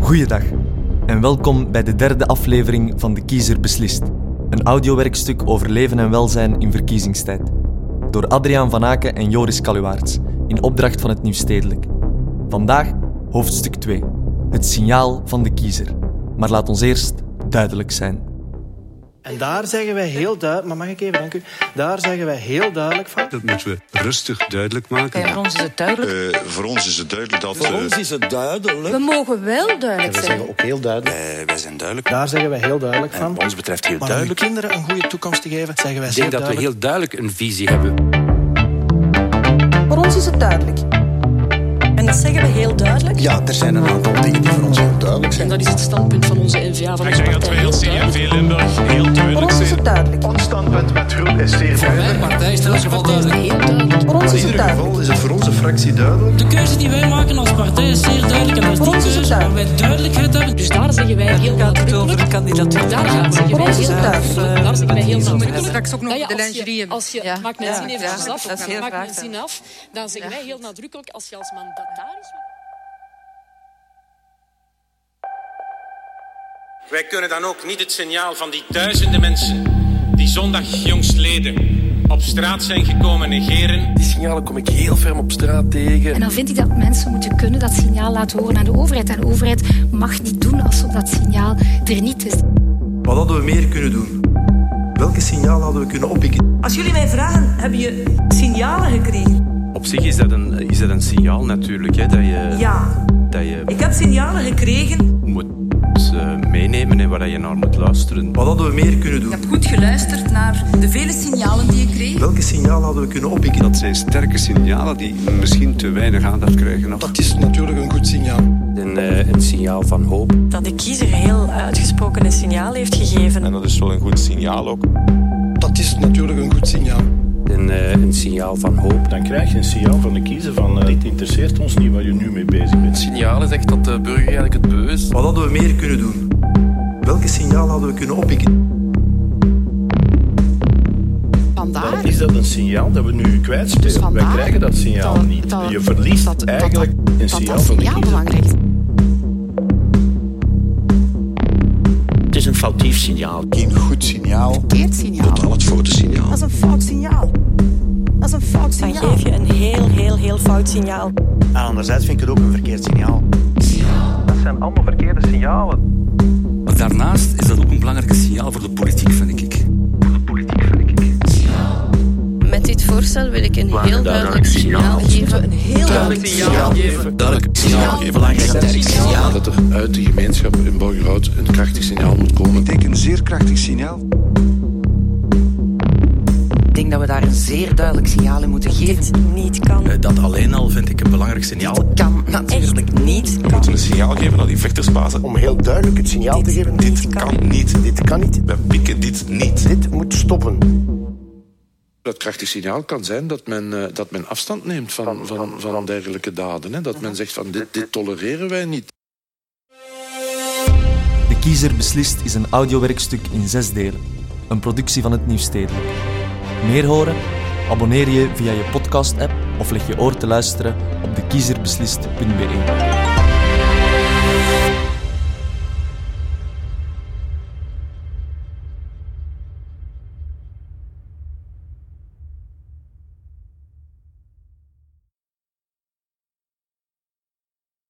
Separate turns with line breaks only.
Goeiedag en welkom bij de derde aflevering van De Kiezer Beslist. Een audiowerkstuk over leven en welzijn in verkiezingstijd. Door Adriaan Van Aken en Joris Kaluwaerts in opdracht van het Nieuw Stedelijk. Vandaag hoofdstuk 2. Het signaal van de kiezer. Maar laat ons eerst duidelijk zijn.
En daar zeggen wij heel duidelijk... Maar mag ik even, dank u. Daar zeggen wij heel duidelijk van...
Dat moeten we rustig duidelijk maken.
Kijk, voor ons is het duidelijk.
Eh, voor ons is het duidelijk dat.
Voor
eh,
ons is het duidelijk.
We mogen wel duidelijk
We zeggen
zijn.
ook heel duidelijk...
Eh, wij zijn duidelijk.
Daar zeggen wij heel duidelijk van...
Wat ons betreft heel
Maar om uw
duidelijk.
kinderen een goede toekomst te geven, zeggen wij
Ik
zeer
denk dat we
duidelijk...
heel duidelijk een visie hebben.
Voor ons is het duidelijk. En dat zeggen we heel duidelijk.
Ja, er zijn een aantal dingen die voor ons heel duidelijk zijn.
En dat is het standpunt van onze NVA, van onze partij. Heel
Voor
duidelijk.
ons is het duidelijk.
Heel duidelijk.
Voor ons is het duidelijk.
geval is het voor onze fractie duidelijk.
De keuze die wij maken als partij is zeer duidelijk. En dat is
Voor
die
ons is het
keuze waar wij duidelijkheid hebben.
Dus daar zeggen wij heel nadrukkelijk.
kandidatuur.
Daar gaan we zeggen
Voor
wij
ons is het
heel
duidelijk.
Daar zeggen wij heel nadrukkelijk.
Straks ook nog
Ja, ja,
de
als je,
lingerie.
als je
Ja.
maakt mijn
Ja,
zin even
ja,
af,
dat is
of
heel
maakt mijn
graag,
zin
hè.
af, dan zeggen wij heel nadrukkelijk als je als mandataris...
Wij kunnen dan ook niet het signaal van die duizenden mensen die zondag jongstleden op straat zijn gekomen negeren.
Die signalen kom ik heel ferm op straat tegen.
En dan vind ik dat mensen moeten kunnen dat signaal laten horen aan de overheid. En de overheid mag niet doen alsof dat signaal er niet is.
Wat hadden we meer kunnen doen? Welke signaal hadden we kunnen oppikken?
Als jullie mij vragen, heb je signalen gekregen?
Op zich is dat een, is dat een signaal natuurlijk, hè, dat je,
Ja,
dat je
ik heb signalen gekregen.
moet eh, meenemen en waar je naar moet luisteren.
Wat hadden we meer kunnen doen?
heb goed geluisterd naar de vele signalen die ik kreeg.
Welke signaal hadden we kunnen oppikken?
Dat zijn sterke signalen die misschien te weinig aandacht krijgen. nog.
Dat is natuurlijk een goed signaal.
Een, eh, een signaal van hoop.
Dat de kiezer heel uitgesproken een signaal heeft gegeven.
en dat is wel een goed signaal ook.
Dat is natuurlijk een goed signaal.
Een, eh, een signaal van hoop.
Dan krijg je een signaal van de kiezer van dit interesseert ons niet waar je nu mee bezig bent.
Signalen zegt dat de burger eigenlijk het beu is.
Wat hadden we meer kunnen doen? Welke signaal hadden we kunnen oppikken?
Vandaar.
Is dat een signaal dat we nu kwijtspelen? Wij
Dus vandaar
krijgen dat signaal
dat-
niet.
dat-
Je verliest
dat- dat-
eigenlijk een
Dat
signaal
dat
van de
signaal
kiezer.
belangrijk is.
Het is een foutief signaal.
Geen goed signaal.
Verkeerd signaal.
Al het foute signaal.
Dat is een fout signaal. Dat is een fout signaal.
je een heel, heel, heel fout signaal.
En anderzijds vind ik het ook een verkeerd signaal.
Daarnaast is dat ook een belangrijk signaal voor de politiek, vind ik.
Met dit voorstel wil ik een heel duidelijk signaal geven. Een heel duidelijk signaal.
Duidelijk signaal geven.
Dat er uit de gemeenschap in Borgerhout een krachtig signaal moet komen.
Ik denk een zeer krachtig signaal.
Ik denk dat we daar een zeer duidelijk signaal in moeten geven.
niet kan.
Dat alleen al vind ik een belangrijk signaal.
Kan natuurlijk niet.
Moeten we een signaal geven aan die vechtersbazen?
Om heel duidelijk het signaal te geven, dit kan niet, dit kan niet,
We pikken dit niet.
dit moet stoppen.
Dat krachtig signaal kan zijn dat men, eh, dat men afstand neemt van, van, van dergelijke daden. Hè? Dat men zegt van dit, dit tolereren wij niet.
De Kiezer Beslist is een audiowerkstuk in zes delen. Een productie van het Nieuw Stedelijk. Meer horen? Abonneer je via je podcast-app of leg je oor te luisteren op dekiezerbeslist.be.